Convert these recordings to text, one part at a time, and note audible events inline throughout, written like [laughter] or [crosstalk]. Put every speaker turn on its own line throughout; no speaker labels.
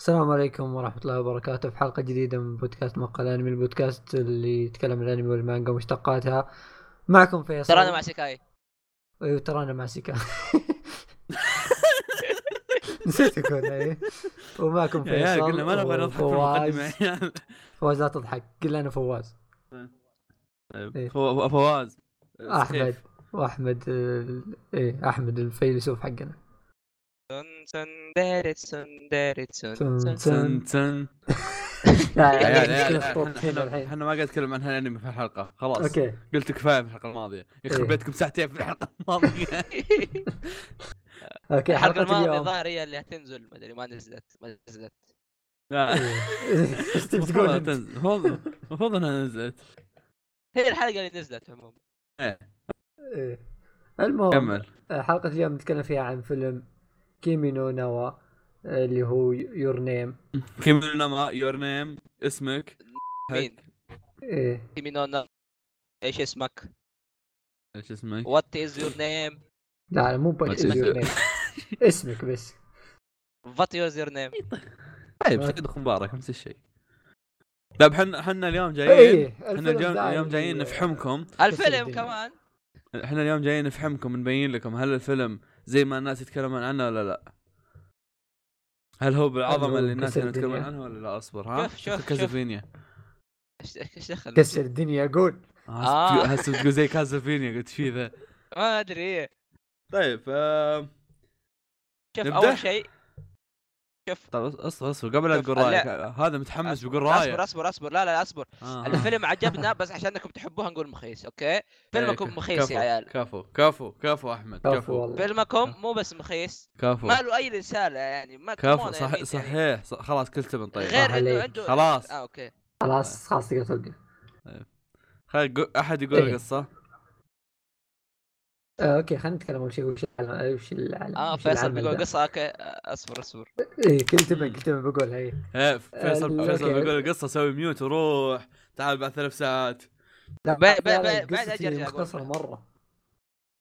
السلام عليكم ورحمة الله وبركاته في حلقة جديدة من بودكاست مقهى الأنمي البودكاست اللي يتكلم عن الأنمي والمانجا ومشتقاتها معكم فيصل
ترى انا مع سكاي
أيوة، ترانا مع
[laughs]
سيكا نسيت أقول إيه ومعكم
يا عيال
فيصل
قلنا ما نبغى نضحك في المقدمة
وفواز
يا عيال
فواز لا تضحك قل أنا فواز إيه.
فو- فواز
أحمد
سيف.
وأحمد ال- إيه أحمد الفيلسوف حقنا
[laughs]
سن سن دارت سن دارت
سن-
سن سن [laughs]
سن.
تن تن
لا
يا عيال، يا
يعني
عيال،
مشكلة خطوط
احنا-
هنا
احنا
الحين
احنا ما قاعد نتكلم عن هالانمي في الحلقة خلاص
أوكي
قلت كفاية في الحلقة الماضية يخرب
إيه.
بيتكم ساعتين في الحلقة
[laughs]
الماضية
أوكي
الحلقه
حلقة
الماضيه
اليوم
الظاهر هي اللي هتنزل ما ادري ما نزلت ما نزلت
لا
إيه. [laughs] ايش تبي
المفروض
تقول
إنها
أنت؟
تنزل. المفروض المفروض انها نزلت
هي الحلقه اللي نزلت عموما
إيه. المهم آه،
كمل
حلقة اليوم نتكلم فيها عن فيلم كيمي نو نوا آه، اللي هو يور نيم
كمل نما يور نيم اسمك
مين
ايه
كيمينونا ايش اسمك
ايش اسمك؟
وات از يور نيم
لا لا، مو
ما
بس
تسمع.
يور نيم اسمك
[laughs]
بس
وات از يور
[laughs]
نيم
طيب سعيد أخو مبارك نفس الشيء لا احنا احنا اليوم جايين
ايه
احنا
الفيلم
إيه، اليوم
ذا
اليوم
اللي-
جايين نفحمكم
الفيلم
الدنيا.
كمان
احنا اليوم جايين نفهمكم نبين لكم هل الفيلم زي ما الناس يتكلمون عنه ولا لا؟ هل هو
هل
بالعظمه
هو
اللي الناس
كسر
كانوا يتكلمون
الدنيا؟
عنها ولا لا اصبر ها؟
شوف- شوف- شوف.
كازافينيا
ايش ايش دخل
كسر الدنيا قول
آه،
آه.
هس- هس تقول زي كازافينيا قلت في ذا
ما ادري إيه.
طيب آه،
شوف
نبدأ؟
اول شيء شوف
طيب أص- اصبر اصبر قبل لا
شوف،
تقول
لا.
رايك هذا متحمس بيقول
اصبر
رايه
اصبر اصبر لا لا اصبر
آه، آه. [laughs]
الفيلم عجبنا بس عشان انكم تحبوها نقول مخيس اوكي فيلمكم
إيه،
مخيس
كفو، آه.
يا عيال
كفو كفو كفو احمد
كفو
كفو
والله
فيلمكم مو بس مخيس
كفو
ما له اي رساله يعني ما
كفو
كمون يا
صح
ميت يعني.
صحيح ص- خلاص كل تبن طيب
صح
غير
عليك.
انه عنده
خلاص.
اه اوكي
خلاص خلاص تقدر توقف
خل قو- احد يقول
إيه.
القصه
آه، اوكي خلينا نتكلم اول شيء وش العالم وش العالم
اه فيصل بيقول قصه اوكي آه، اصبر اصبر
ايه كنت بقول كنت بقولها ايه
ايه فيصل
ال-
فيصل
آه، أوكي.
بيقول القصه سوي ميوت وروح تعال بعد ثلاث ساعات
لا،
بعد-
لا، لا،
بعد- بعد
قصتي
أجي أرجع أقول.
مختصرة مرة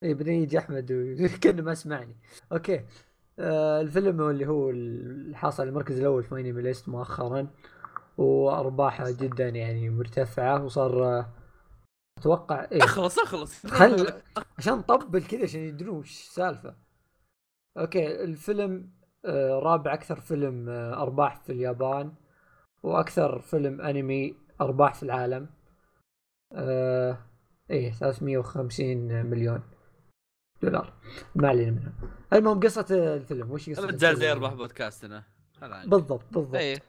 اي بعدين يجي احمد وكانه ما سمعني اوكي آه الفيلم هو اللي هو اللي حاصل على المركز الاول في انمي ليست مؤخرا وارباحه جدا يعني مرتفعه وصار آه، اتوقع ايه
اخلص اخلص
خل عشان نطبل كذا عشان يدرون وش السالفه اوكي الفيلم آه، رابع اكثر فيلم آه، ارباح في اليابان واكثر فيلم انمي ارباح في العالم آه، ايه 350 مليون دولار ما علينا منها المهم قصه الفيلم وش قصه
الرجال زي
الفيلم؟
ارباح بودكاستنا خل عني.
بالضبط بالضبط
ايه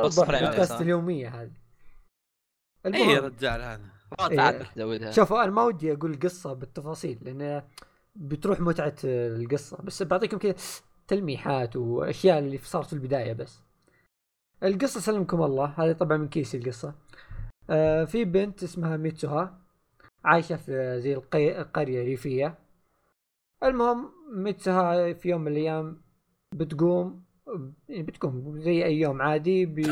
بص
ارباح
فريم
البودكاست
صح.
اليوميه هذه
اي يا
المهم
رجال هذا
إيه.
راتع
تعال زودها
شوفوا انا ما ودي اقول القصه بالتفاصيل لان بتروح متعه القصه بس بعطيكم كذا تلميحات واشياء اللي صارت في البدايه بس القصه سلمكم الله هذه طبعا من كيس القصه آه في بنت اسمها ميتسوها عايشه في زي القي... قريه ريفيه المهم ميتسوها في يوم من الايام بتقوم يعني بتقوم زي اي يوم عادي بي...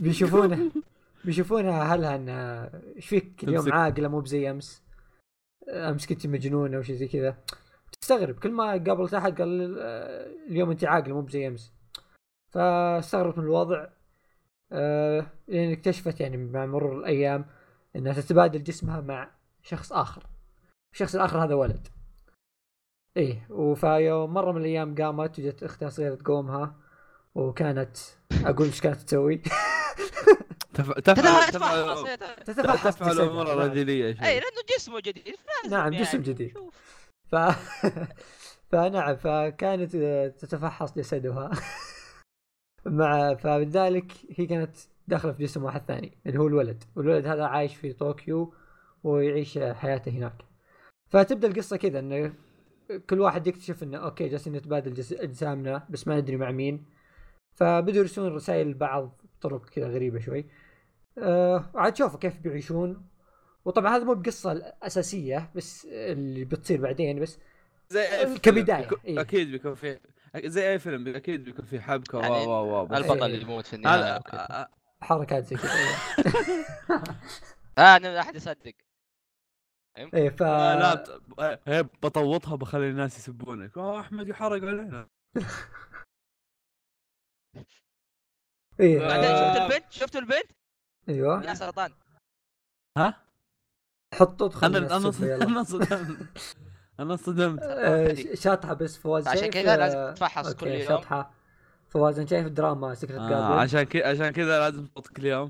بيشوفونها بيشوفونها اهلها انها ايش فيك اليوم
تمسك-
عاقله مو بزي امس امس كنت مجنونه وشي زي كذا تستغرب كل ما قابلت احد قال آه، اليوم انت عاقله مو بزي امس فاستغربت من الوضع آه، لان اكتشفت يعني مع مرور الايام انها تتبادل جسمها مع شخص اخر الشخص الاخر هذا ولد ايه وفيوم مره من الايام قامت وجت اختها صغيره تقومها وكانت اقول ايش كانت تسوي
تفعل
تتفاعل، تتفاعل،
تفعل تفعل-
خلاص، تتفاعل.
تتفحص
تفعل
جسدها.
امور رجليه
اي
شوي
إيه.
لانه إيه، جسمه جديد فلازم
نعم،
يعني
جسم جديد.
شوف.
ف [laughs] فنعم فكانت آه، تتفحص جسدها [laughs] مع فبذلك هي كانت داخله في جسم واحد ثاني اللي هو الولد والولد هذا عايش في طوكيو ويعيش آه، حياته هناك فتبدا القصه كذا انه كل واحد يكتشف انه اوكي جالسين نتبادل جس- اجسامنا بس ما ندري مع مين فبدوا يرسلون رسائل لبعض بطرق كذا غريبه شوي أه عاد شوفوا كيف بيعيشون وطبعا هذا مو بقصه الاساسيه بس اللي بتصير بعدين بس
زي أي فيلم
كبداية،
بيكون-
إيه.
اكيد بيكون في زي اي فيلم اكيد بيكون في حبكه
يعني
واو واو واو بس-
البطل
البطل
إيه.
يموت في النهايه
هذا
أوكي.
آه،
حركات زي كذا أيوة. [laughs]
اه أنا احد يصدق
اي إيه، ف
آه، لا بت- آه، هي بطوطها بخلي الناس يسبونك اوه احمد يحرق علينا
ايه
بعدين شفت البنت شفت البنت
ايوه
يا سرطان
ها
حطوا
انا
دخلنا
انا
السب، يلا.
[laughs]
انصدمت انا انصدمت انا انصدمت
آه، ش- شاطحه بس فواز
عشان
شايف،
كذا لازم
آه،
تتفحص
أوكي،
كل يوم
شاطحه فواز انت شايف دراما سكرت
آه
جابل
عشان كذا عشان كذا لازم تحط كل يوم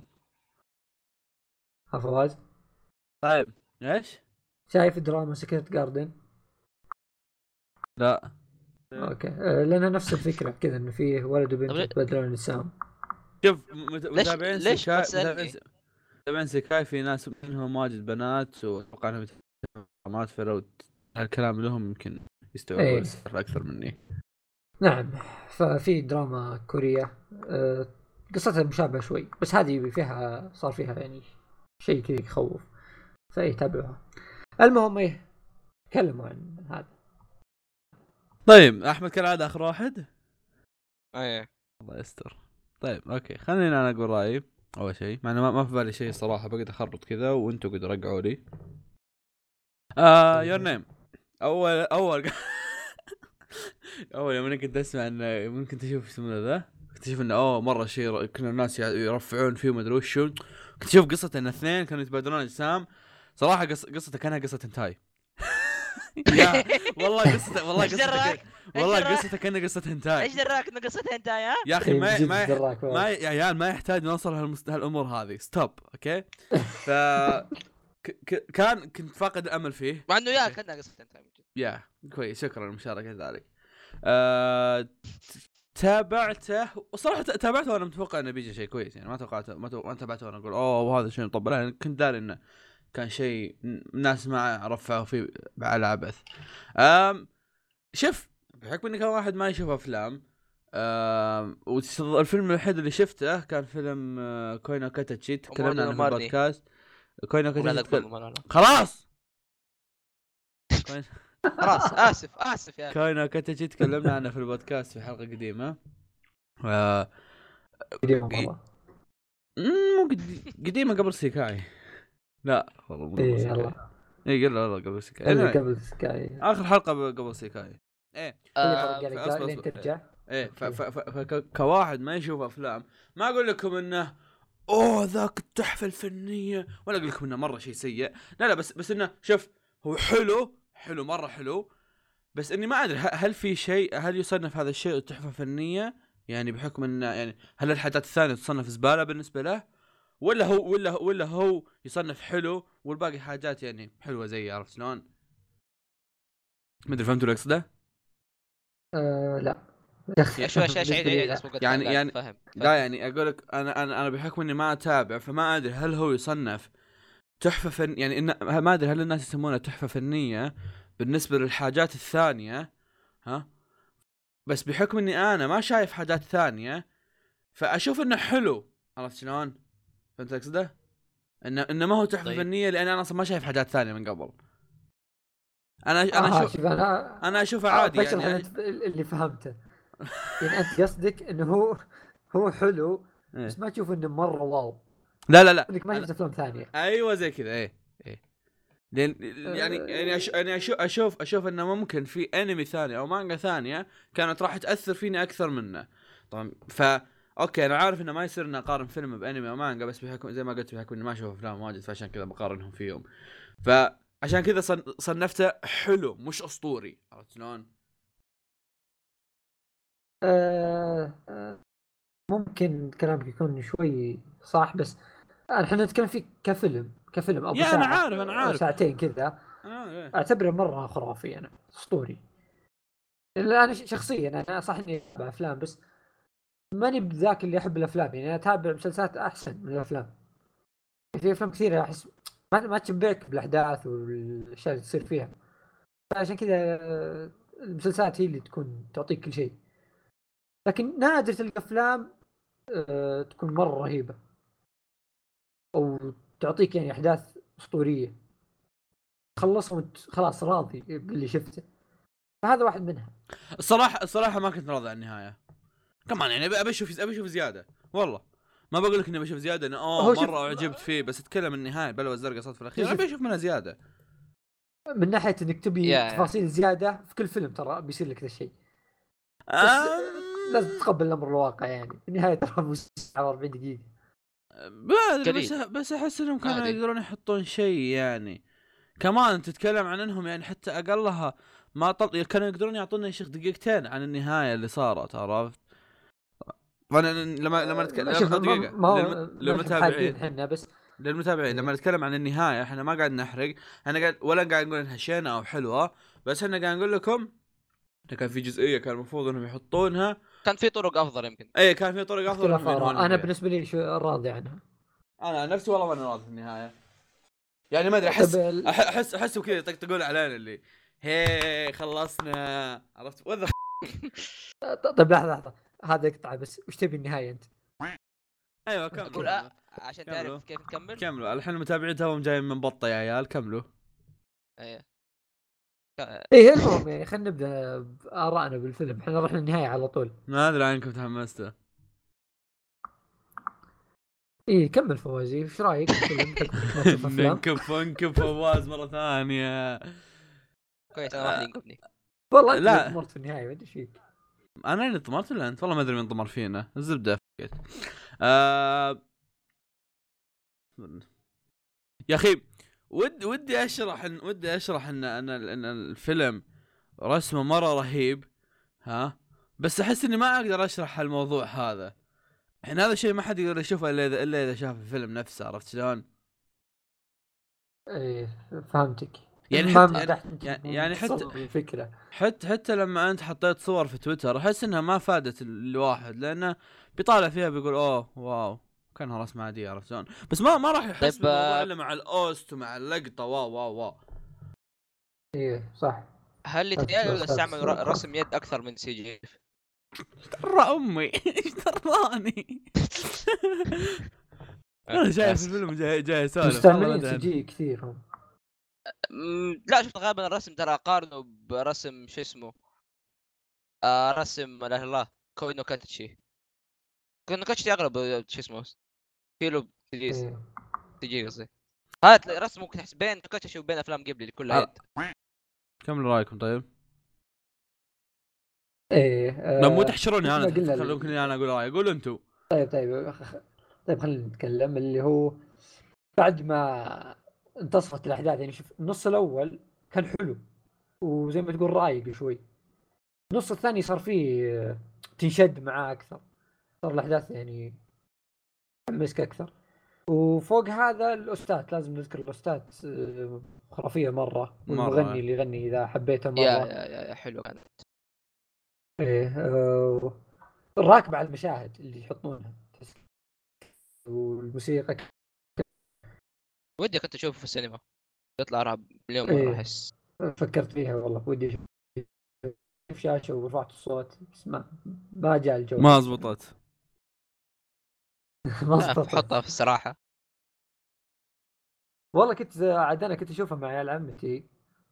ها آه، فواز
طيب ايش؟
شايف دراما سكرت جاردن
لا
اوكي آه، لانها نفس الفكره كذا انه فيه ولد وبنت
طب ليه-
يتبادلون السام
شوف مت-
ليش-
متابعين
ليش
سكاي
بتسألني؟
متابعين س- متابعين سكاي في ناس منهم واجد بنات واتوقع انهم يتابعون مات فلو ت- هالكلام لهم يمكن
إيه.
يستوعبون السر اكثر مني
نعم ففي دراما كورية آه، قصتها مشابهة شوي بس هذه فيها صار فيها يعني شيء كذا يخوف فاي تابعوها المهم ايه تكلموا عن هذا
طيب احمد كالعاده اخر واحد
ايه
الله يستر طيب اوكي خليني انا اقول رايي اول شيء مع انه ما- ما في بالي شيء صراحه بقيت اخربط كذا وانتم قد رجعوا لي آه
طيب،
يور نيم اول اول [laughs] اول يوم انا كنت اسمع انه ممكن تشوف يسمونه ذا كنت اشوف انه اوه مره شيء ر- كنا الناس يع- يرفعون فيه وما ادري وشو كنت اشوف قصه ان اثنين كانوا يتبادلون اجسام صراحه قص... قصته كانها قصه انتاي [laughs]
[laughs]
يا، والله قصته والله
إيش دراك؟
قصته والله
إيش دراك؟
قصته كانها قصه انتاي
ايش دراك ان قصتها انت يا
يا اخي
إيه،
ما
بجد
ما يح-
دراك والله.
ما ي- يا عيال ما يحتاج نوصل هالمست... هالامور هذه ستوب اوكي ف ك... ك... كان كنت فاقد الامل فيه
مع انه يا كانها قصتها انت
يا كويس شكرا لمشاركة ذلك آه... ت- تابعته وصراحة ت- تابعته وانا متوقع انه بيجي شيء كويس يعني ما توقعته ما, تو... ما تابعته وانا اقول اوه وهذا شيء مطبل يعني كنت داري انه كان شيء ن- ناس ما رفعوا فيه على عبث آم... شوف بحكم اني كان واحد ما يشوف افلام آم... والفيلم الوحيد اللي شفته كان فيلم آه، كوينو كاتاتشي تكلمنا عنه في
ومارني.
البودكاست كوينو
ولا
كاتاتشي تكل-
لا
خلاص
خلاص اسف اسف يا
كاينو كاتاجي تكلمنا عنه في البودكاست في حلقه قديمه آه،
قديمة مرة
مم، مو قد- قديمه قبل سيكاي لا والله مو قبل
اي
سيكاي
إيه، يلا
اي قبل والله قبل سيكاي
اللي
Anyway،
قبل سكاي
اخر حلقه ب- قبل سيكاي ايه
آه،
أصبر، أصبر.
لين ترجع
ايه ف- ف- ف- فك- كواحد ما يشوف افلام ما اقول لكم انه اوه ذاك التحفه الفنيه ولا اقول لكم انه مره شيء سيء لا لا بس بس انه شوف هو حلو حلو مره حلو بس اني ما ادري ه- هل في شيء هل يصنف هذا الشيء تحفه فنيه يعني بحكم انه يعني هل الحاجات الثانيه تصنف زباله بالنسبه له ولا هو ولا هو ولا هو يصنف حلو والباقي حاجات يعني حلوه زي عرفت شلون؟ ما ادري فهمتوا اللي اقصده؟
آه لا [laughs]
يا شو اشياء عيد عيد اسمه قد
يعني-
لا،
يعني-
فاهم
لا يعني اقول لك انا انا انا بحكم اني ما اتابع فما ادري هل هو يصنف تحفه فن يعني إن ما ادري هل الناس يسمونها تحفه فنيه بالنسبه للحاجات الثانيه ها بس بحكم اني انا ما شايف حاجات ثانيه فاشوف انه حلو عرفت شلون؟ فهمت اقصده؟ انه انه ما هو تحفه
طيب.
فنيه لان انا اصلا ما شايف حاجات ثانيه من قبل. انا انا
آه،
اشوف
شوف انا
انا اشوفه عادي
بشرح
يعني
أنت اللي فهمته يعني انت قصدك انه هو هو حلو
إيه.
بس ما تشوف انه مره واو
لا لا لا
انك ما شفت افلام ثانيه
ايوه زي كذا ايه ايه لان يعني يعني أش... يعني أشو... اشوف اشوف انه ممكن في انمي ثاني او مانجا ثانيه كانت راح تاثر فيني اكثر منه طبعا ف اوكي انا عارف انه ما يصير اني اقارن فيلم بانمي او مانجا بس بحكم زي ما قلت بحكم اني ما اشوف افلام واجد فعشان كذا بقارنهم فيهم فعشان كذا صن... صنفته حلو مش اسطوري عرفت شلون؟
آه، آه، ممكن كلامك يكون شوي صح بس احنا نتكلم فيه كفيلم كفيلم ابو
يا
ساعة
أنا عارف، أنا
أو
عارف.
ساعتين كذا
آه إيه.
اعتبره مره خرافي انا اسطوري لا انا ش- شخصيا انا صح اني اتابع افلام بس ماني بذاك اللي احب الافلام يعني انا اتابع مسلسلات احسن من الافلام في افلام كثيره احس ما ما تشبعك بالاحداث والاشياء اللي تصير فيها فعشان كذا آه، المسلسلات هي اللي تكون تعطيك كل شيء لكن نادر تلقى افلام آه، تكون مره رهيبه او تعطيك يعني احداث اسطوريه تخلصهم وانت خلاص راضي باللي شفته فهذا واحد منها
الصراحه الصراحه ما كنت راضي عن النهايه كمان يعني أبي- ابي اشوف ابي اشوف زياده والله ما بقول لك اني بشوف زياده انه اوه
هو شوف-
مره اعجبت آه، فيه بس اتكلم النهايه البلوه الزرقاء صارت في الاخير
شوف-
ابي اشوف منها زياده
من ناحيه انك تبي
يا-
تفاصيل زياده في كل فيلم ترى بيصير لك ذا الشيء
آم،
لازم تتقبل الامر الواقع يعني في النهايه ترى مو ساعه و40 دقيقه
ما أدري، بس
قليل.
بس احس انهم كانوا
عادي.
يقدرون يحطون شيء يعني كمان تتكلم عن انهم يعني حتى اقلها ما طل... كانوا يقدرون يعطونا يا شيخ دقيقتين عن النهايه اللي صارت عرفت؟ وانا لما لما نتكلم
شوف، ما-
دقيقه
ما هو
للم-
ما نحب
للمتابعين
حاليا احنا بس
للمتابعين لما نتكلم عن النهايه احنا ما قاعد نحرق احنا قاعد ولا قاعد نقول انها شينه او حلوه بس احنا قاعد نقول لكم إنه كان في جزئيه كان المفروض انهم يحطونها
كان في طرق افضل يمكن
اي كان في طرق افضل
اختلاف
إنهم ينهون
آراء. انا
فيها.
بالنسبه لي شو راضي عنها
انا عن نفسي والله ماني راضي في النهايه يعني ما ادري
طب
احس
ال-
أح- احس احس كذا يطقطقون علينا اللي هي خلصنا عرفت وذا
طب لحظه لحظه هذا يقطع بس وش تبي النهايه انت؟
ايوه
اقول
كملوا
آه عشان
كملوا.
تعرف كيف نكمل
كملوا الحين المتابعين توهم جايين من بطه يا عيال كملوا
إيه.
ايه المهم يعني خلينا نبدا بارائنا بالفيلم احنا رحنا النهايه على طول
ما ادري عنكم تحمستوا
ايه كمل فوازي وش
[laughs]
رايك بالفيلم؟ ما تشوف أفلام؟
ننكب فنكب فواز مره ثانيه
كويس
أه،
انا ما حد ينقذني
والله
لا.
لا مرت في النهايه ما ادري ايش فيك
انا اللي طمرت ولا انت؟ والله ما ادري مين طمر فينا الزبده فكت. آه... يا اخي ود ودي اشرح إن ودي اشرح ان ان ان الفيلم رسمه مره رهيب ها بس احس اني ما اقدر اشرح الموضوع هذا الحين هذا الشيء ما حد يقدر يشوفه الا اذا الا اذا شاف الفيلم نفسه عرفت شلون؟
ايه فهمتك
يعني
ما
حتى-
مدحت
يعني- يعني حتى-
تصور الفكره
حتى حتى لما انت حطيت صور في تويتر احس انها ما فادت ال- الواحد لانه بيطالع فيها بيقول اوه واو كانها رسمه عاديه عرفت شلون؟ بس ما ما راح يحس
طيب،
بالموضوع
آه،
الا مع الاوست ومع اللقطه واو واو واو
ايه صح
هل يتهيألي ولا استعمل ر- رسم يد اكثر من سي
[laughs]
جي
ترى امي ايش [laughs] تراني؟ انا شايف الفيلم جاي جاي اسولف
مستعملين
والله
سي
ما
جي كثير هم
مم، لا شفت غالبا الرسم ترى قارنه برسم شو اسمه آه رسم لا إله إلا الله كوينو كاتشي كوينو كاتشي اغلب آه، شو اسمه كيلو تجيز
إيه.
تجي قصدي هذا تلاقي رسمه تحس بين كاتشي وبين افلام قبلي كلها
آه.
يد
كملوا رايكم طيب؟
ايه آه،
لا مو تحشروني انا
مثل ما قلنا ال-
خلوني انا اقول رايي قولوا انتم
طيب طيب خ- طيب خلينا نتكلم اللي هو بعد ما انتصفت الاحداث يعني شوف النص الاول كان حلو وزي ما تقول رايق شوي النص الثاني صار فيه آه، تنشد معاه اكثر صار الاحداث يعني تحمسك اكثر وفوق هذا الاستاذ لازم نذكر الاستاذ آه، خرافيه مره
مرة.
والمغني اللي يغني اذا حبيته مره
يا يا يا- يا حلو كان
ايه آه، راكبة على المشاهد اللي يحطونها تحس- والموسيقى ك-
ودي كنت اشوفه في السينما يطلع رعب اليوم
إيه.
مرة
[laughs]
احس
فكرت فيها والله ودي أشوف- اشوف شاشة ورفعت الصوت بس ما ما جاء الجو
ما زبطت
[laughs]
[laughs]
ما
لا،
استطعت.
بحطها في الصراحه
والله كنت آه، عاد انا كنت اشوفها مع عيال عمتي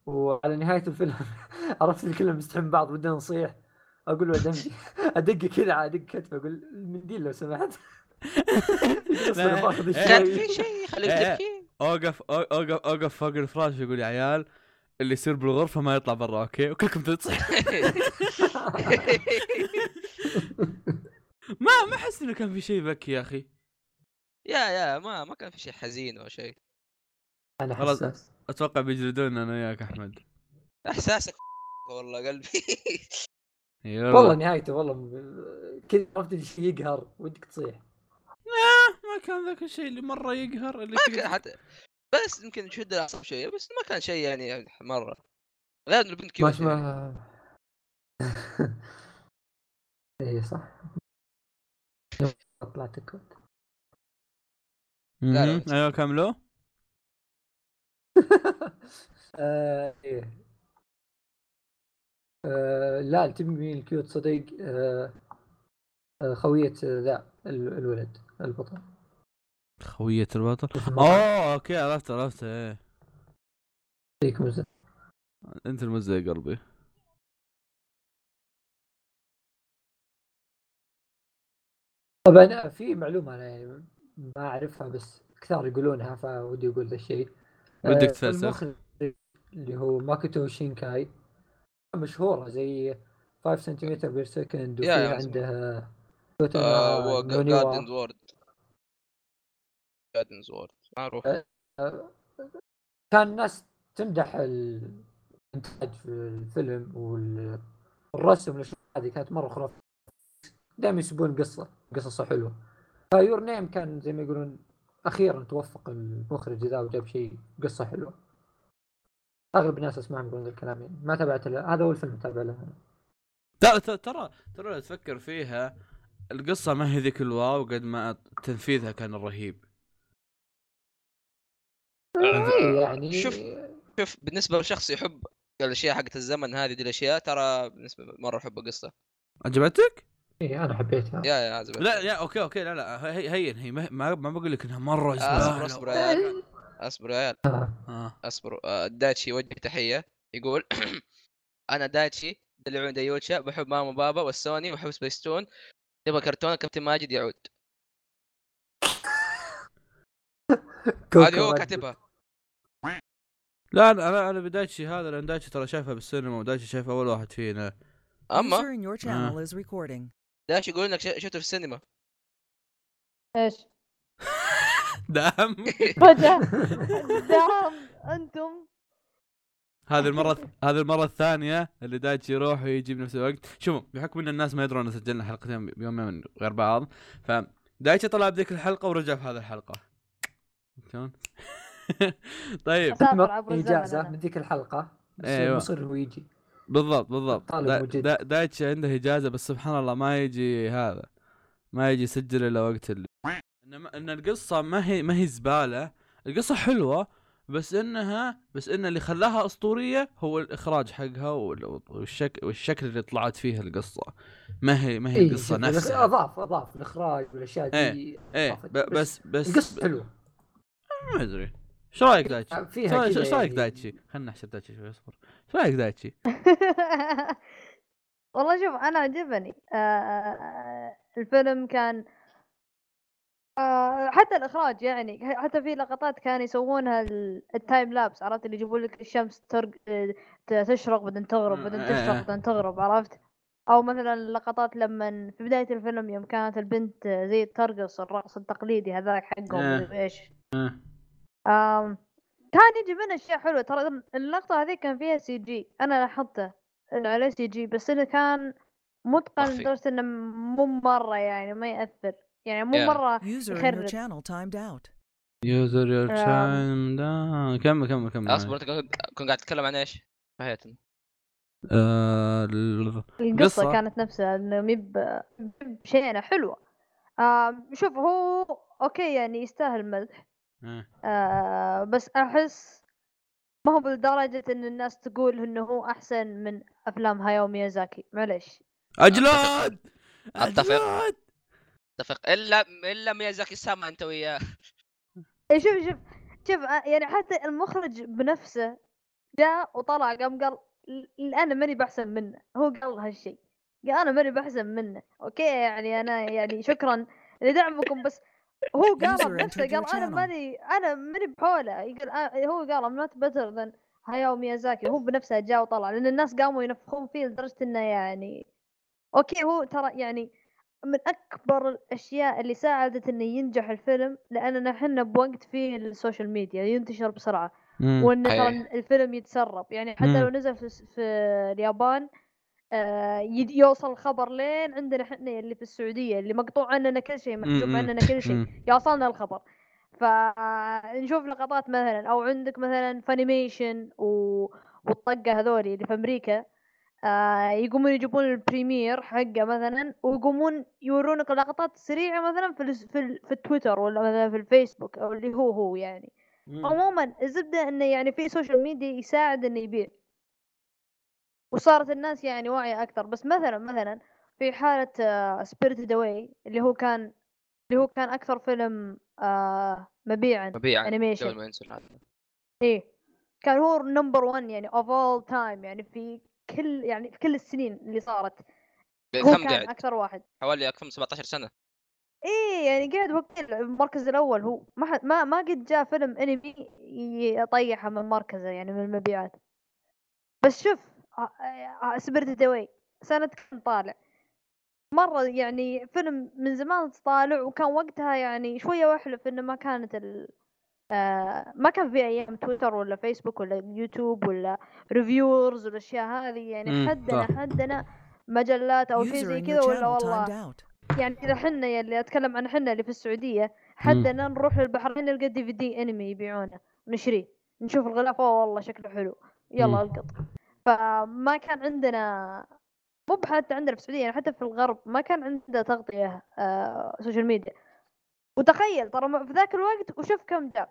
وعلى نهاية الفيلم [laughs] عرفت اللي كلنا مستحم بعض ودنا نصيح اقول له دمي [laughs] ادق كذا على دق كتفه اقول المنديل لو سمحت [laughs]
لا.
باخذ
كان
الشاي
في
[laughs]
شيء يخليك
إيه.
تبكي [laughs]
اوقف اوقف اوقف فوق الفراش يقول يا عيال اللي يصير بالغرفه ما يطلع برا اوكي وكلكم تتصحوا ما ما احس انه كان في شيء بكي يا اخي
يا يا ما ما كان في شيء حزين او شيء
انا
خلاص.
حساس
اتوقع بيجلدون انا وياك احمد
احساسك [laughs] والله قلبي [laughs]
يلا
والله نهايته والله م- كذا عرفت اللي شيء يقهر ودك تصيح
ما كان ذاك الشيء اللي مره يقهر اللي
ما كان حتى بس يمكن شد الاعصاب شويه بس ما كان شيء يعني مره غير انه البنت
ما
كيوت يعني.
اسمه [laughs] اي إيه، صح [laughs] طلعت كنت
لا، لا،
مهم. ايوه كملوا
آه، إيه. آه، لا تبي مين الكيوت صديق آه، آه، خوية ذا ال- الولد البطل
خوية البطل
اسمه
اوه اوكي عرفت عرفت ايه
يعطيك مزة.
انت المزة يا قلبي
طبعا آه، في معلومة أنا يعني ما أعرفها بس كثار يقولونها فودي أقول ذا الشيء
ودك
آه،
تفسر.
المخرج اللي هو ماكوتو شينكاي مشهورة زي 5 سنتيمتر بير سكند
يا- يا
وفيها
مزبوط.
عندها توتن
آه، جاردنز وورد جاردنز وورد ما اروح
أه. كان الناس تمدح الانتاج في الفيلم والرسم والاشياء هذه كانت مره خرافيه دائما يسبون قصه قصصه حلوه فيور نيم كان زي ما يقولون اخيرا توفق المخرج ذا وجاب شيء قصه حلوه اغلب الناس اسمعهم يقولون ذا الكلام يعني ما تابعت له هذا اول فيلم تابع له أنا.
ترى ترى- ترى ترى لو تفكر فيها القصه ما هي ذيك الواو قد ما تنفيذها كان رهيب
إيه يعني
شوف. شوف بالنسبه لشخص يحب الاشياء حقت الزمن هذه دي الاشياء ترى بالنسبه مره احب القصه
عجبتك؟
إيه انا حبيتها
يا يا عزب
لا لا اوكي اوكي لا لا هي هي, هي ما, ما ما بقول لك انها
آه،
مره
اصبر
زباله
اصبر يا
إيه.
عيال اصبر يا عيال
آه.
اصبر آه، دايتشي يوجه تحيه يقول [coughs] انا دايتشي دلعون ديوتشا بحب ماما بابا والسوني وحب سبيستون نبغى كرتون كابتن ماجد يعود
كوكو
هذه هو
ماجد.
[laughs] كاتبها
لا انا انا انا بدايتشي هذا لان دايتشي ترى شايفها بالسينما ودايتشي شايف اول واحد فينا
اما
User in your channel is recording.
دايتشي يقول انك شفته في السينما
ايش؟
[laughs] دام
فجأة دام انتم
هذه المرة هذه المرة الثانية اللي دايتشي يروح ويجي بنفس الوقت، شوفوا بحكم ان الناس ما يدرون إن سجلنا حلقتين بيومين غير بعض، ف دايتشي طلع بذيك الحلقة ورجع في هذه الحلقة. شلون؟ [laughs] طيب
اسافر عبر الزمن
اجازه من
أنا.
ذيك الحلقه بس
أيوة.
مصر هو يجي
بالضبط بالضبط
طالب
دا
وجد.
دا دايتشي عنده اجازة بس سبحان الله ما يجي هذا ما يجي يسجل الا وقت اللي ان ما- ان القصة ما هي ما هي زبالة، القصة حلوة بس انها بس ان اللي خلاها اسطوريه هو الاخراج حقها وال- والشك والشكل اللي طلعت فيه القصه ما هي ما هي
إيه،
القصه
شوف، الإخ-
نفسها
اضاف اضاف الاخراج والاشياء دي
ايه
أضافت.
ب- بس بس
القصه حلوه
ما ادري ايش رايك دايتشي؟
فيها كذا
ايش رايك
يعني-
دايتشي؟ خلنا نحسب دايتشي شوي اصبر ايش رايك دايتشي؟
[laughs] والله شوف انا عجبني آه، آه، الفيلم كان آه، حتى الاخراج يعني حتى في لقطات كانوا يسوونها ال- التايم لابس عرفت اللي يجيبون لك الشمس ترق ت- تشرق بعدين تغرب بعدين
آه.
تشرق بعدين تغرب عرفت او مثلا اللقطات لما في بدايه الفيلم يوم كانت البنت زي ترقص الرقص التقليدي هذاك حقهم
آه.
مدري ايش
آه.
آم، كان يجي منه اشياء حلوه ترى اللقطه هذه كان فيها سي جي انا لاحظته انه عليه سي جي بس انه كان متقن
مخفي.
لدرجه انه مو مره يعني ما ياثر يعني مو
Yeah.
مره
User in your
يخرب.
channel timed out.
يوزر يور
آم.
تايم دا كمل كمل كمل
اصبر انت كنت قاعد تتكلم عن ايش؟ فهيتني
آه، ال-
القصه
قصة.
كانت نفسها انه ميب ميب شينه حلوه آم، شوف هو اوكي يعني يستاهل مدح
آه.
آه، بس احس ما هو بالدرجة ان الناس تقول انه هو احسن من افلام هاياو ميازاكي معليش
اجلاد
أتفق.
اجلاد
اتفق الا الا ميازاكي ساما انت وياه
إيه شوف شوف شوف آه، يعني حتى المخرج بنفسه جاء وطلع قام قال "ل- ل- انا ماني باحسن منه هو قال هالشيء قال انا ماني باحسن منه اوكي يعني انا يعني شكرا لدعمكم بس هو
User
قال بنفسه
entered your
قال انا
channel.
ماني انا ماني بحوله يقول آه، هو قال I'm not better than هاياو ميازاكي هو بنفسه جاء وطلع لان الناس قاموا ينفخون فيه لدرجه انه يعني اوكي هو ترى يعني من اكبر الاشياء اللي ساعدت انه ينجح الفيلم لاننا احنا بوقت فيه السوشيال ميديا ينتشر بسرعه
مم.
وان
صحيح.
ترى الفيلم يتسرب يعني حتى لو
مم.
نزل في, في اليابان آه، يد- يوصل الخبر لين عندنا احنا اللي في السعوديه اللي مقطوع عننا كل شيء محجوب
مم.
عننا كل شيء
مم.
يوصلنا الخبر فنشوف لقطات مثلا او عندك مثلا فانيميشن و... والطقه هذولي اللي في امريكا آه يقومون يجيبون البريمير حقه مثلا ويقومون يورونك لقطات سريعه مثلا في الس- في, ال... في التويتر ولا مثلا في الفيسبوك او اللي هو هو يعني عموما الزبده انه يعني في سوشيال ميديا يساعد انه يبيع وصارت الناس يعني واعيه اكثر بس مثلا مثلا في آه، حاله سبيريتد اواي اللي هو كان اللي هو كان اكثر فيلم آه مبيعا
مبيعا
Animation.
قبل ما ينزل هذا
ايه كان هو نمبر 1 يعني اوف اول تايم يعني في كل يعني في كل السنين اللي صارت هو
كم
كان
قاعد
اكثر واحد
حوالي كم 17 سنه
ايه يعني قاعد وقت المركز الاول هو ما حد ما ما قد جاء فيلم انمي يطيحه آه، من مركزه يعني من المبيعات بس شوف سبرت دواي سنة كم طالع مرة يعني فيلم من زمان طالع وكان وقتها يعني شوية واحلف انه ما كانت ال آه، ما كان في ايام تويتر ولا فيسبوك ولا يوتيوب ولا ريفيورز والاشياء هذه
مم،
يعني حدنا
صح.
حدنا مجلات او شيء
User
زي
in
كذا
your
ولا
channel
والله
timed out.
يعني اذا حنا يا اللي اتكلم عن حنا اللي في السعوديه حدنا نروح للبحرين نلقى دي في دي انمي يبيعونه نشتريه نشوف الغلاف اوه والله شكله حلو
مم.
يلا القط فما كان عندنا مو حتى عندنا في السعوديه يعني حتى في الغرب ما كان عنده تغطيه آه سوشيال ميديا وتخيل ترى ما- في ذاك الوقت وشوف كم جاب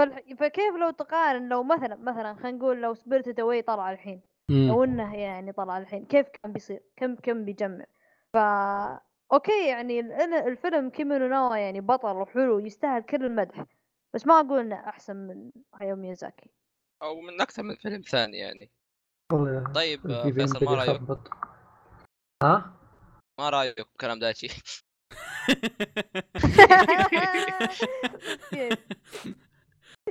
فالح- فكيف لو تقارن لو مثلا مثلا خلينا نقول لو سبيرتد اواي طلع الحين
[laughs]
لو انه يعني طلع الحين كيف كان بيصير كم كم بيجمع فا اوكي يعني ال- الفيلم كيمينو نوا يعني بطل وحلو يستاهل كل المدح بس ما اقول انه احسن من هايو ميازاكي
او من اكثر من فيلم ثاني يعني
والله
طيب آه،
في بين
فيصل ما
بدي
رايك
يخبط ها
ما رايك بكلام دايتشي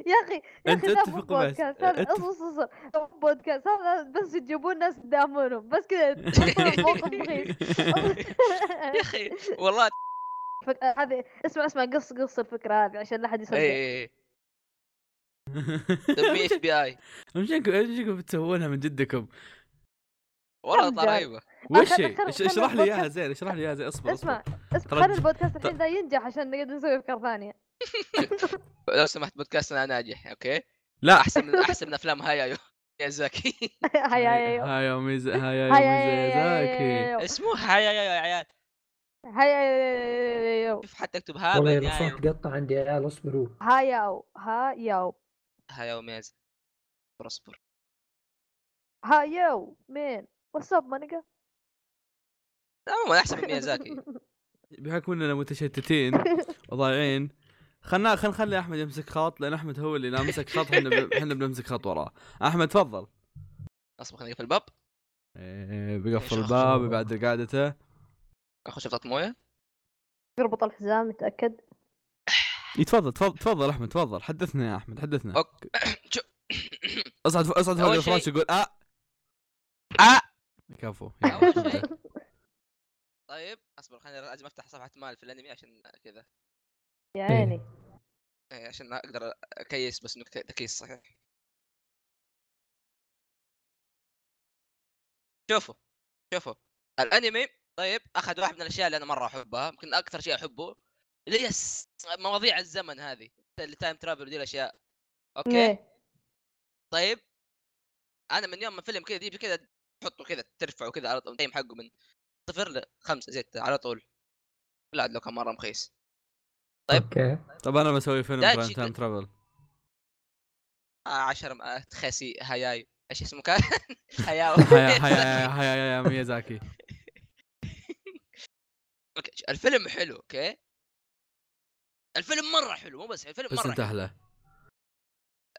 يا اخي يا
أنت
اخي لا مو
اتفق معي.
بودكاست هذا
أتفق.
اصبر اصبر اصبر مو بودكاست هذا بس تجيبون ناس تداهمونهم بس كذا تحطون
[laughs]
موقف رخيص
[laughs] يا اخي [laughs] والله
فك- هذه اسمع اسمع قص قص الفكره هذه عشان لا احد
إيه،
يصدق
اي اي [laughs] دمي ايش إيه. بي اي
ايش انكم بتسوونها من جدكم؟
والله
كم
طلع
جاب؟
رهيبه
وش
خل-
هي؟
خل-
إيش-
خل
اشرح لي اياها
البودكاست-
زين اشرح لي اياها زين اصبر
اسمع
إيه، اصبر
اسمع
ترى
خلي
الج-
البودكاست
ترى-
الحين ذا ينجح عشان نقدر نسوي افكار
[laughs]
ثانيه
لو سمحت بودكاستنا ناجح اوكي
لا
احسن من [laughs] احسن من افلام هايايو ميازاكي
أيوة،
هيا هيا
هاي يا ميز هاي يا
هيا هيا
ميزاكي
يو.
[laughs] اسمه هايايو يا عيال
هيا يو- يو- يو.
شوف حتى اكتب
والله
هابل
يا
يا
الصوت قطع عندي يا عيال اصبروا
هيا هيا
هايايو ميازاكي اصبر اصبر
هيا مين واتساب مانجا
لا عموما احسن من طيب، [laughs] ميازاكي
بحكم اننا متشتتين وضايعين خلنا خلنا نخلي احمد يمسك خط لان احمد هو اللي لا مسك خط احنا بن- احنا بنمسك خط وراه احمد تفضل
اصبر خليني اقفل الباب
إيه، بيقفل
إيش
الباب
أخبار؟
بعد قعدته
اخش شطه مويه
[laughs] يربط
[laughs]
الحزام يتاكد
يتفضل تفضل تفضل احمد تفضل حدثنا يا احمد حدثنا
اوكي شو-
اصعد فوق- اصعد فوق
أول شيء-
الفراش يقول اه
آه.
كفو
أول شيء. [laughs] طيب اصبر خليني لازم افتح صفحه مال في الانمي عشان كذا
يا عيني
إيه، عشان اقدر اكيس بس انه تكيس صحيح شوفوا شوفوا الانمي طيب اخذ واحد من الاشياء اللي انا مره احبها يمكن اكثر شيء احبه اللي هي الس- مواضيع الزمن هذه اللي تايم ترافل ودي الاشياء اوكي
إيه.
طيب انا من يوم ما فيلم كذا تجيب كذا تحطه كذا ترفعه كذا على طول التايم حقه من صفر لخمسه زيت على طول لا لو كان مره مخيس طيب.
اوكي
طب انا بسوي فيلم
دايتشي
تايم تايم
كنت- [laughs]
ترافل
آه، عشر م- تخسي هياي ايش اسمه [laughs] كان؟ هياو
حيا
[laughs]
حيا حيا يا ميازاكي
أوكي، الفيلم حلو اوكي الفيلم مره حلو مو بس حلو، الفيلم
بس
مره
انت
حلو.
احلى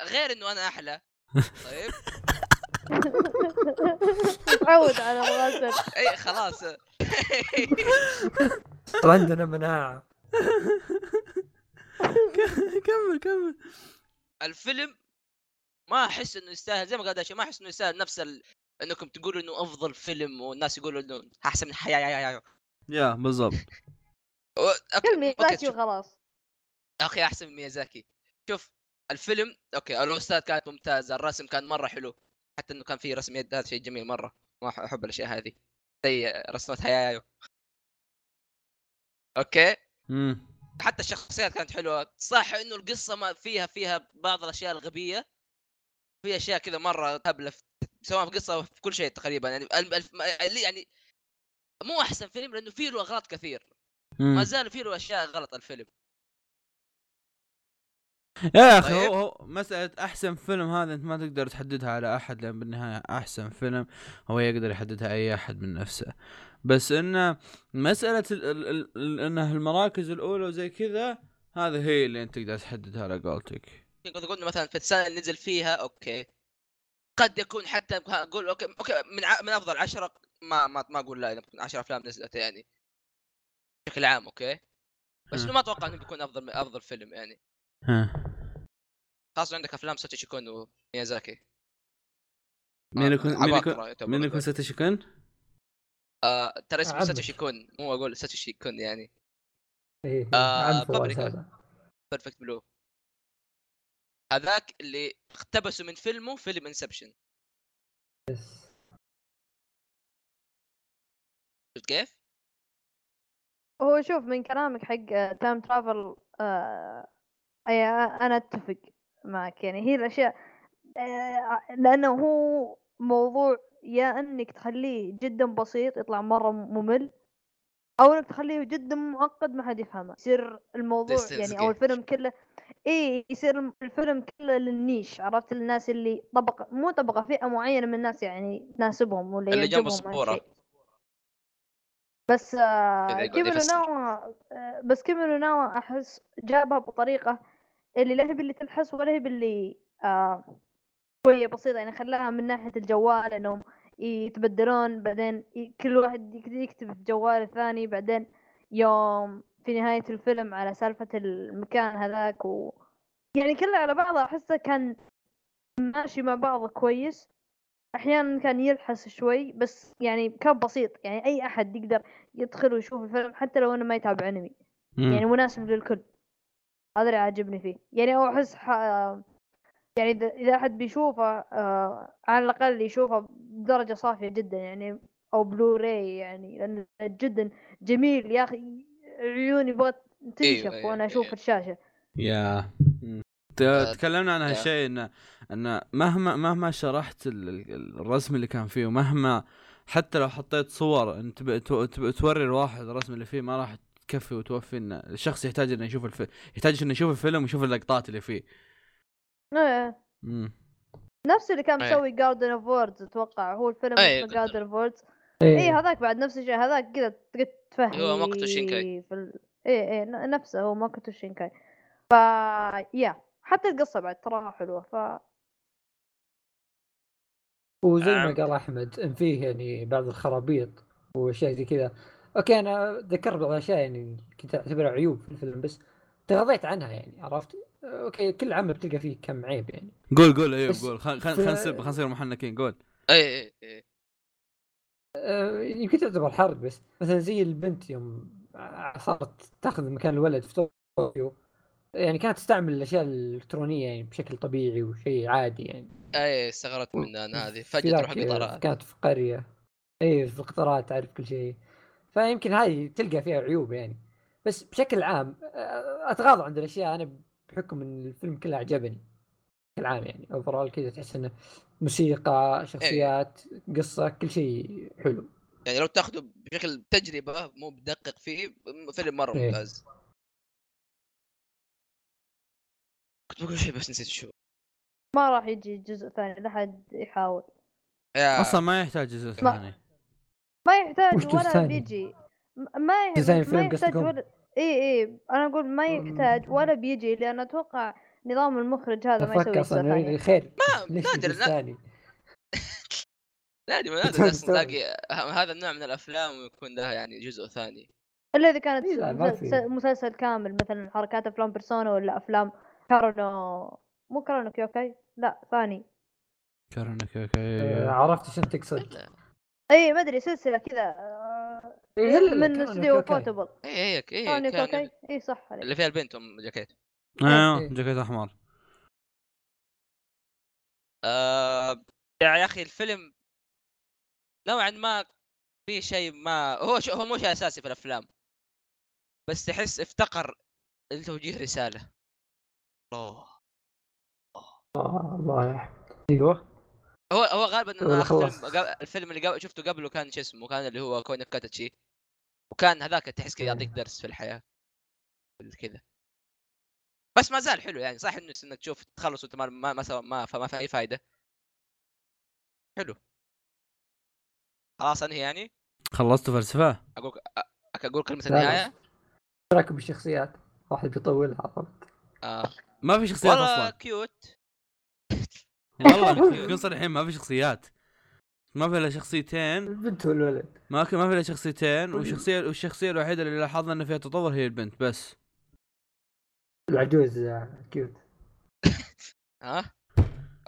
غير انه انا احلى طيب
متعود على
[laughs]
الغسل
اي خلاص
ترى عندنا مناعه
كمل كمل
الفيلم ما احس انه يستاهل زي ما قال داشي ما احس انه يستاهل نفس ال... انكم تقولوا انه افضل فيلم والناس يقولوا انه احسن من حياي يا يا يا
يا بالضبط
كل
اوكي أوكي،
ميزاكي
شوف.
وخلاص
اخي احسن من ميازاكي شوف الفيلم اوكي الاستاذ كانت ممتازه الرسم كان مره حلو حتى انه كان في رسم يد هذا شيء جميل مره ما أح- احب الاشياء هذه زي رسمات هيايو اوكي
امم
حتى الشخصيات كانت حلوه صح انه القصه ما فيها فيها بعض الاشياء الغبيه في اشياء كذا مره هبله في- سواء في قصه في كل شيء تقريبا يعني ال- الف- اللي يعني مو احسن فيلم لانه فيه له اغلاط كثير ما زال فيه له اشياء غلط الفيلم
يا اخي
طيب.
هو هو مساله احسن فيلم هذا انت ما تقدر تحددها على احد لان بالنهايه احسن فيلم هو يقدر يحددها اي احد من نفسه بس انه مساله ال ال ال ال انه المراكز الاولى وزي كذا هذا هي اللي انت تقدر تحددها على قولتك
قد قلنا مثلا في السنه اللي نزل فيها اوكي قد يكون حتى اقول اوكي اوكي من ع... من افضل عشرة ما ما ما اقول لا اذا بتكون 10 افلام نزلت يعني بشكل عام اوكي بس
ها.
انه ما اتوقع انه بيكون افضل من افضل فيلم يعني
ها
خاصه عندك افلام ساتشي كون وميازاكي
مين يكون مين يكون
آه، عباقرة يعتبر
مين
هذول.
يكون ستة شكن؟
آه ترى اسمه
عمك.
ساتوشي كون مو اقول ساتوشي كون يعني
ايه
آه،
عم فواز
بابريكا.
هذا
بيرفكت بلو هذاك اللي اقتبسوا من فيلمه فيلم انسبشن
يس
شفت كيف؟
هو شوف من كلامك حق تايم ترافل آه يعني أي انا اتفق معك يعني هي الاشياء آه لانه هو موضوع يا انك تخليه جدا بسيط يطلع مره ممل او انك تخليه جدا معقد ما حد يفهمه يصير الموضوع
Distance
يعني او
game.
الفيلم كله ايه يصير الم- الفيلم كله للنيش عرفت الناس اللي طبقه مو طبقه فئه معينه من الناس يعني تناسبهم ولا
اللي جنب
يعجبهم
السبورة.
هالشيء. بس آه،
يقعد
كيميرو
يفسر.
ناوا آه، بس كيميرو ناوا احس جابها بطريقه اللي لا هي باللي تلحس ولا هي باللي آه، شويه بسيطه يعني خلاها من ناحيه الجوال انهم يتبدلون بعدين ي- كل واحد يك- يكتب في جوال الثاني بعدين يوم في نهاية الفيلم على سالفة المكان هذاك و يعني كله على بعضه أحسه كان ماشي مع بعضه كويس أحيانا كان يلحس شوي بس يعني كان بسيط يعني أي أحد يقدر يدخل ويشوف الفيلم حتى لو انه ما يتابع انمي يعني مناسب للكل هذا اللي عاجبني فيه يعني او احس ح... يعني اذا اذا احد بيشوفه آه، على الاقل يشوفه بدرجه صافيه جدا يعني او بلوراي يعني لانه جدا جميل يا اخي عيوني بغت تنشف
أيوة،
وانا
أيوة،
اشوف
أيوة.
الشاشه
يا ت- تكلمنا عن هالشيء انه انه مهما مهما شرحت ال- ال- الرسم اللي كان فيه ومهما حتى لو حطيت صور انت تب- تو- تب- توري الواحد الرسم اللي فيه ما راح تكفي وتوفي ان الشخص يحتاج انه يشوف الفيلم يحتاج انه يشوف الفيلم ويشوف اللقطات اللي فيه
آه،
مم.
نفس اللي كان
أيوة.
مسوي جاردن اوف ووردز اتوقع هو الفيلم
أيوة،
اسمه جاردن اوف ووردز اي
ايه
إيه، هذاك بعد نفس الشيء هذاك كذا تقعد تفهم
هو ماكوتو شينكاي.
في ال... اي اي ن- نفسه هو ماكوتو شينكاي ف يا حتى القصه بعد تراها حلوه ف
وزي ما
عم.
قال احمد ان فيه يعني بعض الخرابيط واشياء زي كذا اوكي انا ذكرت بعض الاشياء يعني كنت اعتبرها عيوب في الفيلم بس تغاضيت عنها يعني عرفت؟ اوكي كل عمل بتلقى فيه كم عيب يعني
قول قول ايوب
بس
قول خلينا
في-
نصير خلينا نصير محنكين قول
اي اي اي
أه، يمكن تعتبر حرق بس مثلا زي البنت يوم ع- صارت تاخذ مكان الولد في طوكيو يعني كانت تستعمل الاشياء الالكترونيه يعني بشكل طبيعي وشيء عادي يعني
اي إيه، استغربت من انا هذه
في
فجاه تروح
ذاك،
القطارات
كانت في قريه اي في القطارات تعرف كل شيء فيمكن هذه تلقى فيها عيوب يعني بس بشكل عام أه، اتغاضى عن الاشياء انا بحكم ان الفيلم كله عجبني بشكل عام يعني اوفرول كذا تحس انه موسيقى
إيه.
شخصيات قصه كل شيء حلو
يعني لو تاخذه بشكل تجربه مو بدقق فيه م- فيلم مره
إيه.
ممتاز كنت بقول شيء بس نسيت شو
ما راح يجي جزء ثاني لا حد يحاول
آه.
يا
اصلا ما يحتاج جزء ثاني
ما
وش
يحتاج
جزء
ولا
ثاني؟
بيجي م- ما
جزء ثاني
ي... ما
الفيلم
يحتاج
قصدكم؟
ولا إيه، اي اي انا اقول ما يحتاج ولا بيجي لان اتوقع نظام المخرج هذا ما
افكر
يسوي جزء
اصلا يريد
ثاني
الخير
ما-
ليش
نادر،
الجزء
لا.
الثاني؟
نادر نادر اصلا تلاقي هذا النوع من الافلام ويكون لها يعني جزء ثاني
الا اذا كانت
إيه لا، ما
س-
في.
س- مسلسل كامل مثلا حركات افلام بيرسونا ولا افلام كارونو مو كارونو كيوكاي لا ثاني
كرنك اوكي
آه، عرفت شنو تقصد
اي إيه، ما ادري سلسله كذا آه،
إيه، لا، لا،
من
كارونو
استوديو
كيوكاي.
بوتبل
اي اي
كارونو
اي
كيوكاي
إيه، كان
اي إيه، صح عليك
اللي فيها البنت ام جاكيت
ايوه
إيه.
جاكيت احمر
آه يا اخي الفيلم نوعا ما في شيء ما هو شو هو مو شيء اساسي في الافلام بس تحس افتقر لتوجيه رساله الله
آه، الله يحفظك ايوه
هو هو غالبا
هو
أنا
اللي
آخر
خلص.
فيلم قبل- الفيلم اللي قبل شفته قبله كان شو اسمه كان اللي هو كونك كاتاتشي وكان هذاك تحس كذا
إيه.
يعطيك درس في الحياه كذا بس ما زال حلو يعني صح انه انك تشوف تخلص وانت ما ما ما, سوى- ما, ما, ما في اي فائده حلو خلاص انهي يعني
خلصت فلسفه
اقول اقول كلمه
لا، لا.
النهايه
تراكم الشخصيات واحد بيطولها عرفت
آه.
ما في شخصيات
والله
اصلا
كيوت
إيه والله نكون صريحين ما في شخصيات ما في الا شخصيتين
البنت والولد
ما في ما في الا شخصيتين والشخصيه والشخصيه الوحيده اللي لاحظنا ان فيها تطور هي البنت بس
العجوز آه، كيوت
ها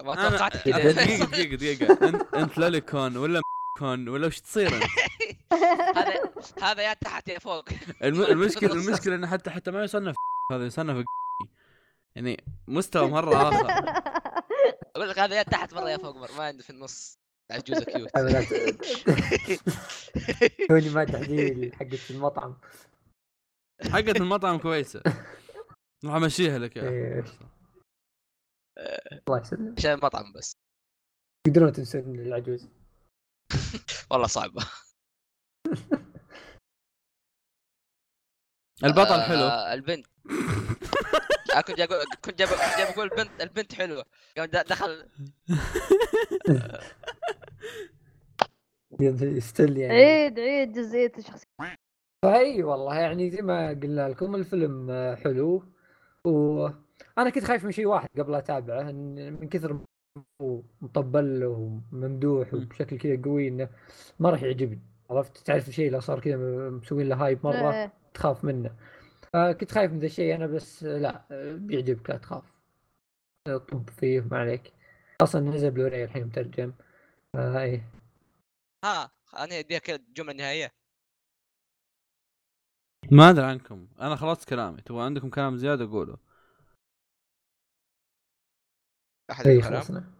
ما
أنا-
توقعت
دقيقه
آه. كذا
إيه، دقيقه دقيقه انت انت لوليكون ولا كون ولا وش تصير انت؟
[laughs]
[laughs]
هذا هذا يا تحت يا فوق
الم... المشكله المشكله انه حتى حتى ما يصنف [laughs] هذا يصنف يعني مستوى مره اخر
اقول لك هذا يا تحت مره يا فوق مره ما عنده في النص عجوزه كيوت
[laughs] لا ت- توني ما تحليل حقت المطعم
حقت المطعم كويسه راح امشيها لك يا
إيه. الله يسلمك
عشان مطعم بس
تقدرون تنسون العجوز
والله صعبه
البطل
آه،
حلو
البنت آه، كنت جاي أقول- كنت جاي كنت جاي بقول البنت البنت حلوه قام د- دخل
ستيل
إيه.
يعني
عيد عيد جزئيه الشخصيه
فاي والله يعني زي ما قلنا لكم الفيلم آه، حلو وانا كنت خايف من شيء واحد قبل اتابعه إن من كثر ما هو مطبل وممدوح
مم.
وبشكل كذا قوي انه ما راح يعجبني عرفت تعرف الشيء لو صار كذا مسوين له هايب مره
إيه.
تخاف منه فكنت خايف من ذا الشيء انا بس آه، لا بيعجبك لا تخاف آه، طب فيه ما عليك اصلا نزل بلوراي الحين مترجم آه ايه
ها انا اديها كذا الجمله النهائيه
ما ادري عنكم انا خلصت كلامي تبغى عندكم كلام زياده قولوا
احد
اي
عنده كلام؟
إيه، خلصنا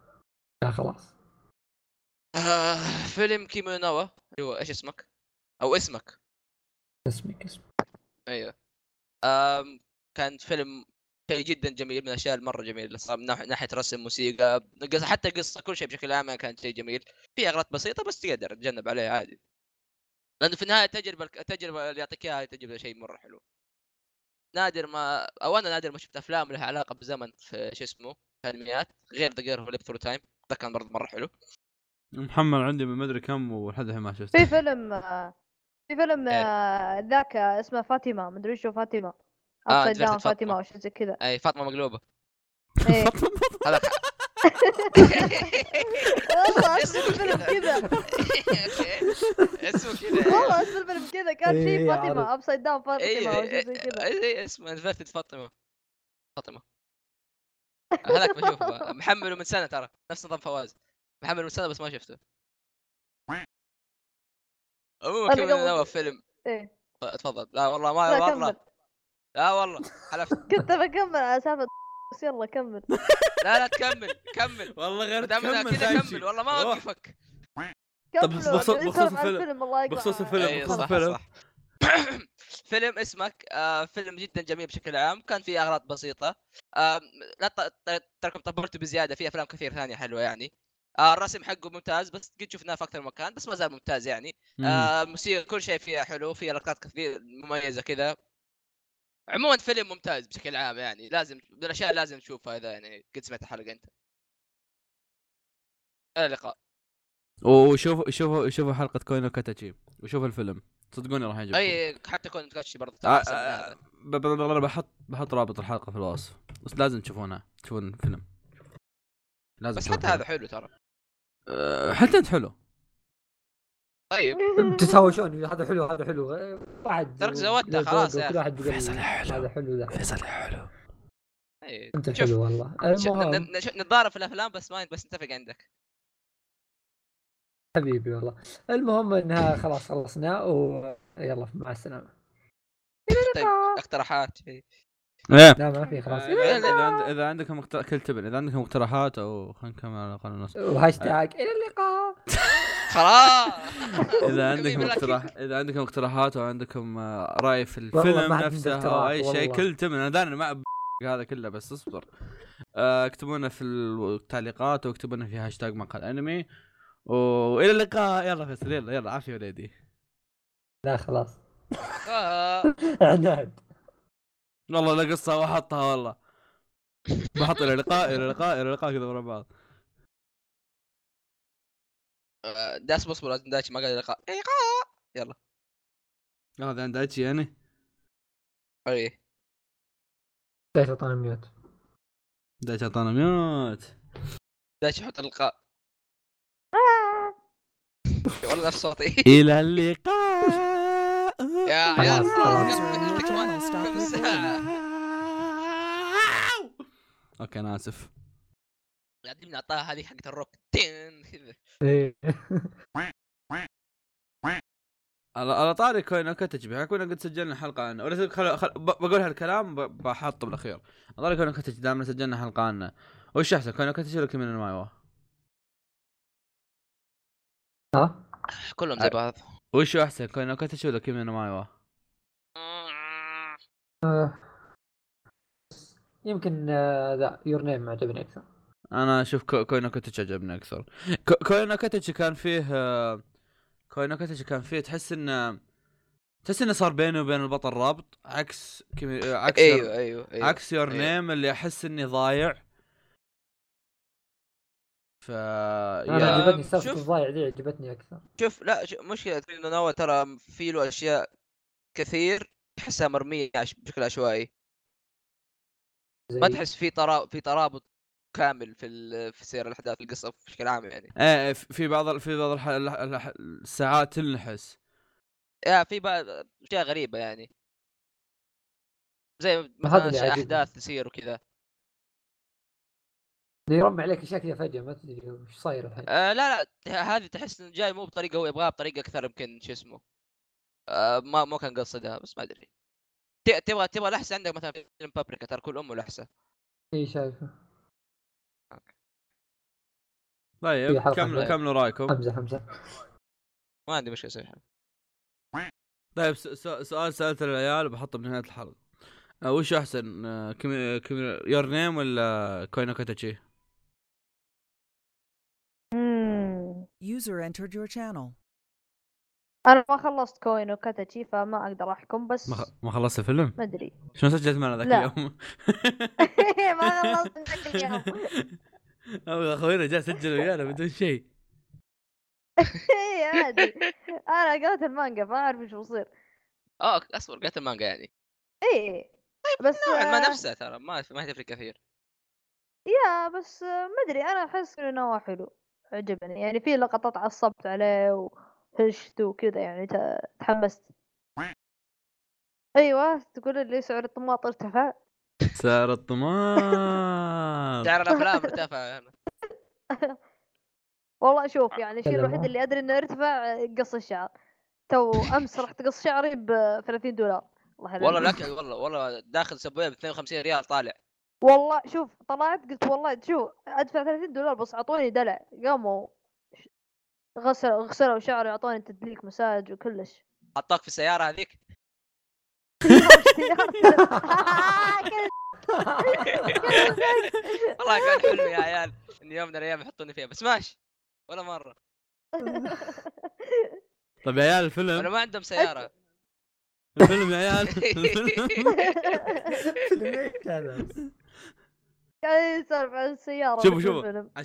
لا خلاص
آه، فيلم كيمو نوا هو ايش اسمك؟ او اسمك
اسمك اسمك
ايوه آم كان فيلم شيء جدا جميل من الاشياء المره جميله اللي صار من ناح- ناحيه رسم موسيقى قصة- حتى قصه كل شيء بشكل عام كان شيء جميل في اغلاط بسيطه بس تقدر تتجنب عليها عادي لانه في النهايه التجربه التجربه اللي يعطيك اياها تجربه شيء مره حلو نادر ما او انا نادر ما شفت افلام لها علاقه بالزمن في شو اسمه في انميات غير ذا جير ثرو تايم ذا كان برضه مره حلو
محمد عندي من مدري كم ولحد الحين ما
في
شفته
فيلم آه، في فيلم
إيه.
آه، ذاك آه، اسمه فاطمه مدري شو فاطمه
آه،
ابسايد
أنت
داون
قلت فاطمة.
فاطمه او شيء زي
[laughs]
كذا
اي فاطمه مقلوبه
إيه.
هذا [laughs]
والله اسم الفيلم
[laughs]
كذا
اسمه كذا
والله اسم الفيلم كذا كان
إيه،
في
عارف.
فاطمه ابسايد داون
إيه،
فاطمه او شيء زي كذا
اي إيه، اسمه انفرتد فاطمه فاطمه هذاك بشوفه محمله من سنه ترى نفس نظام فواز محمله من سنه بس ما شفته عموما
أنا
كمل
قبل-
نوى فيلم
إيه.
ف- تفضل لا والله ما
لا
آه، والله
كمل
لا والله حلفت
كنت بكمل على سالفه بس يلا كمل
لا لا تكمل
[laughs]
كمل
والله غير
ما دام إنها كذا كمل والله ما اوقفك
طب
كملوا،
بخصوص-
قاعدين
بخصوص
نتكلم عن
الفيلم.
الله يقطع.
بخصوص الفيلم.
أيوة،
خذ
صح صح
فيلم.
[coughs] فيلم اسمك آه فيلم جدا جميل بشكل عام كان فيه اغلاط بسيطه آه لا ت- ت- تركم طبلته بزياده في افلام كثير ثانيه حلوه يعني آه الرسم حقه ممتاز بس قد شفناه في اكثر من مكان بس ما زال ممتاز يعني آه الموسيقى كل شيء فيها حلو فيها لقطات كثير مميزه كذا عموما فيلم ممتاز بشكل عام يعني لازم من الاشياء اللي لازم تشوفها اذا يعني قد سمعت الحلقه انت الى اللقاء
وشوفوا شوفوا شوفوا حلقه كوينو كاتاتشي وشوفوا الفيلم صدقوني راح يعجبكم
اي حتى كون متكشي برضه
آه،
أحسن من هذا.
آه، ب- ب- ب- بحط بحط رابط الحلقه في الوصف بس لازم تشوفونها تشوفون الفيلم لازم
بس
تشوفون
حتى هذا حلو ترى
الفيلم. أه، حتى انت حلو
طيب
تتهاوشون هذا حلو هذا حلو آه، بعد
ترك
و-
زودته
لا
خلاص
زود،
يا
وكل واحد بيقول
فيصل حلو.
هذا حلو ذا
فيصل حلو
إيه،
انت
شوف
الحلو والله
شوف، ن-
المهم
ن- نش- نتضارب في الافلام بس ما بس نتفق عندك
حبيبي والله المهم انها خلاص خلصنا ويلا مع السلامه
طيب اقتراحات إيه. شيء.
ايه
لا ما في خلاص
إيه،
اذا إذا عند- اذا عندكم اقتراح كل تبن اذا عندكم اقتراحات او خلينا نكمل على الاقل نص
وهاشتاج الى اللقاء
خلاص [laughs]
[laughs] اذا
حبيبي
عندكم
لك.
اقتراح اذا عندكم اقتراحات او عندكم آه، راي في
والله
الفيلم
ما عندي
نفسه او
اقتراح،
اي شيء
والله.
كل تمن انا داري إنه ما أب- [laughs] هذا كله بس اصبر آه، اكتبونا في التعليقات واكتبونا في هاشتاج مقال انمي والى اللقاء يلا فيصل يلا يلا عافيه وليدي
لا خلاص [laughs] نعم.
آه.
عناد
والله لا قصه واحطها والله بحط الى اللقاء الى اللقاء الى اللقاء كذا ورا بعض
آه، داس بصبر لازم داش ما قال لقاء إيه،
هذا عند اتشي يعني
قا- ايه
ليش اعطانا ميوت
دايتش اعطانا ميوت
داش يحط اللقاء [laughs] والله نفس صوتي [laughs]
الى اللقاء
يا
خلاص،
عيال
خلاص.
قبل كمان كم ساعة.
اوكي انا اسف
قاعدين نعطاها هذه حقت الروك تين كذا
إيه.
على على طاري كوين كتج كنا قد سجلنا حلقه عنه ولا تدري خل... خل... ب- بقول هالكلام ب- بحطه بالاخير على طاري كوين كتج دامنا سجلنا حلقه عنه وش احسن كوين كتج ولا كيمينو نو مايوا
ها
كلهم زي بعض
وش احسن كوين كتج ولا كيمينو نو مايوا
آه. يمكن آه، ذا يور نيم عجبني اكثر
انا اشوف كو- كوين كتج عجبني اكثر كو- كوين كتج كان فيه آه، كوين كتج كان فيه تحس انه تحس انه صار بينه وبين البطل رابط عكس كيمي... آه، عكس
ايوه ايوه ايوه
عكس يور
أيوة.
نيم اللي احس اني ضايع ف
انا
يا-
عجبتني سالفه
شوف.
الضايع ذي عجبتني اكثر
شوف لا شوف مشكلة انه نوا ترى في له اشياء كثير تحسها مرمية عش- بشكل عشوائي
زي
ما تحس في ترا في ترابط كامل في ال- في سير الاحداث القصة بشكل عام يعني
ايه في بعض ال- في بعض الح... الح... الح... الساعات تنحس
يا آه، في بعض اشياء غريبة يعني زي
اللي
مثلا أشياء
عاجبني.
احداث تصير وكذا
يرمي عليك اشياء كذا فجاه ما تدري وش صاير الحين
آه لا لا هذه تحس انه جاي مو بطريقة هو يبغاها بطريقة اكثر يمكن شو اسمه آه ما ما كان قصدها بس ما ادري ت- تبغى تبغى لحسة عندك مثلا في فيلم بابريكا ترى كل امه لحسة
اي شايفه
طيب
في حلقة
كملوا
حلوة.
كملوا رايكم
حمزه
[laughs]
[laughs] حمزه
ما عندي مشكلة صحيح
طيب س... س... سؤال سالته العيال وبحطه بنهايه الحلقه أه وش احسن أه كم... كم... يور نيم ولا كوينو كاتشي؟
مم.
User entered your channel.
انا ما خلصت كوين وكاتشي فما اقدر احكم بس
ما, خ... ما خلصت الفيلم؟
ما ادري
شلون سجلت معنا ذاك
لا.
اليوم؟
[laughs] ما خلصت ذاك
[laughs]
اليوم
اخوينا جاء سجل ويانا بدون شيء
[laughs] إيه، عادي انا قريت المانجا فما اعرف ايش بصير
اه اصبر قريت المانجا يعني
اي إيه. بس
نوعا نعم، ما
آه،
نفسها ترى ما ما تفرق
[laughs]
كثير
يا بس آه، ما ادري انا احس انه نوع حلو عجبني يعني في لقطات عصبت عليه وهشت وكذا يعني ت- تحمست ايوه تقول لي سعر الطماط ارتفع
سعر الطماط
سعر الافلام ارتفع
[laughs] والله شوف يعني الشيء
هذا
الوحيد
ما-
اللي ادري انه ارتفع آه، قص الشعر تو امس رحت قص شعري ب 30 دولار الله يلعنك.
والله الاكل والله والله داخل سبويه ب 52 ريال طالع
والله شوف طلعت قلت والله شوف ادفع 30 دولار بس اعطوني دلع قاموا ش- غسلوا غسلوا شعري اعطوني تدليك مساج وكلش [laughs]
حطاك في السياره هذيك
[laughs]
[laughs]
والله كان حلو يا عيال ان يوم من الايام يحطوني فيها بس ماشي ولا مره
[laughs] طيب يا عيال الفيلم
[laughs]
ولا ما عندهم سياره
الفيلم يا عيال
[laughs]
الفيلم
فيلم إيش هذا
قاعد يسولف عن السياره
شوفوا-
في
شوفوا.
الفيلم.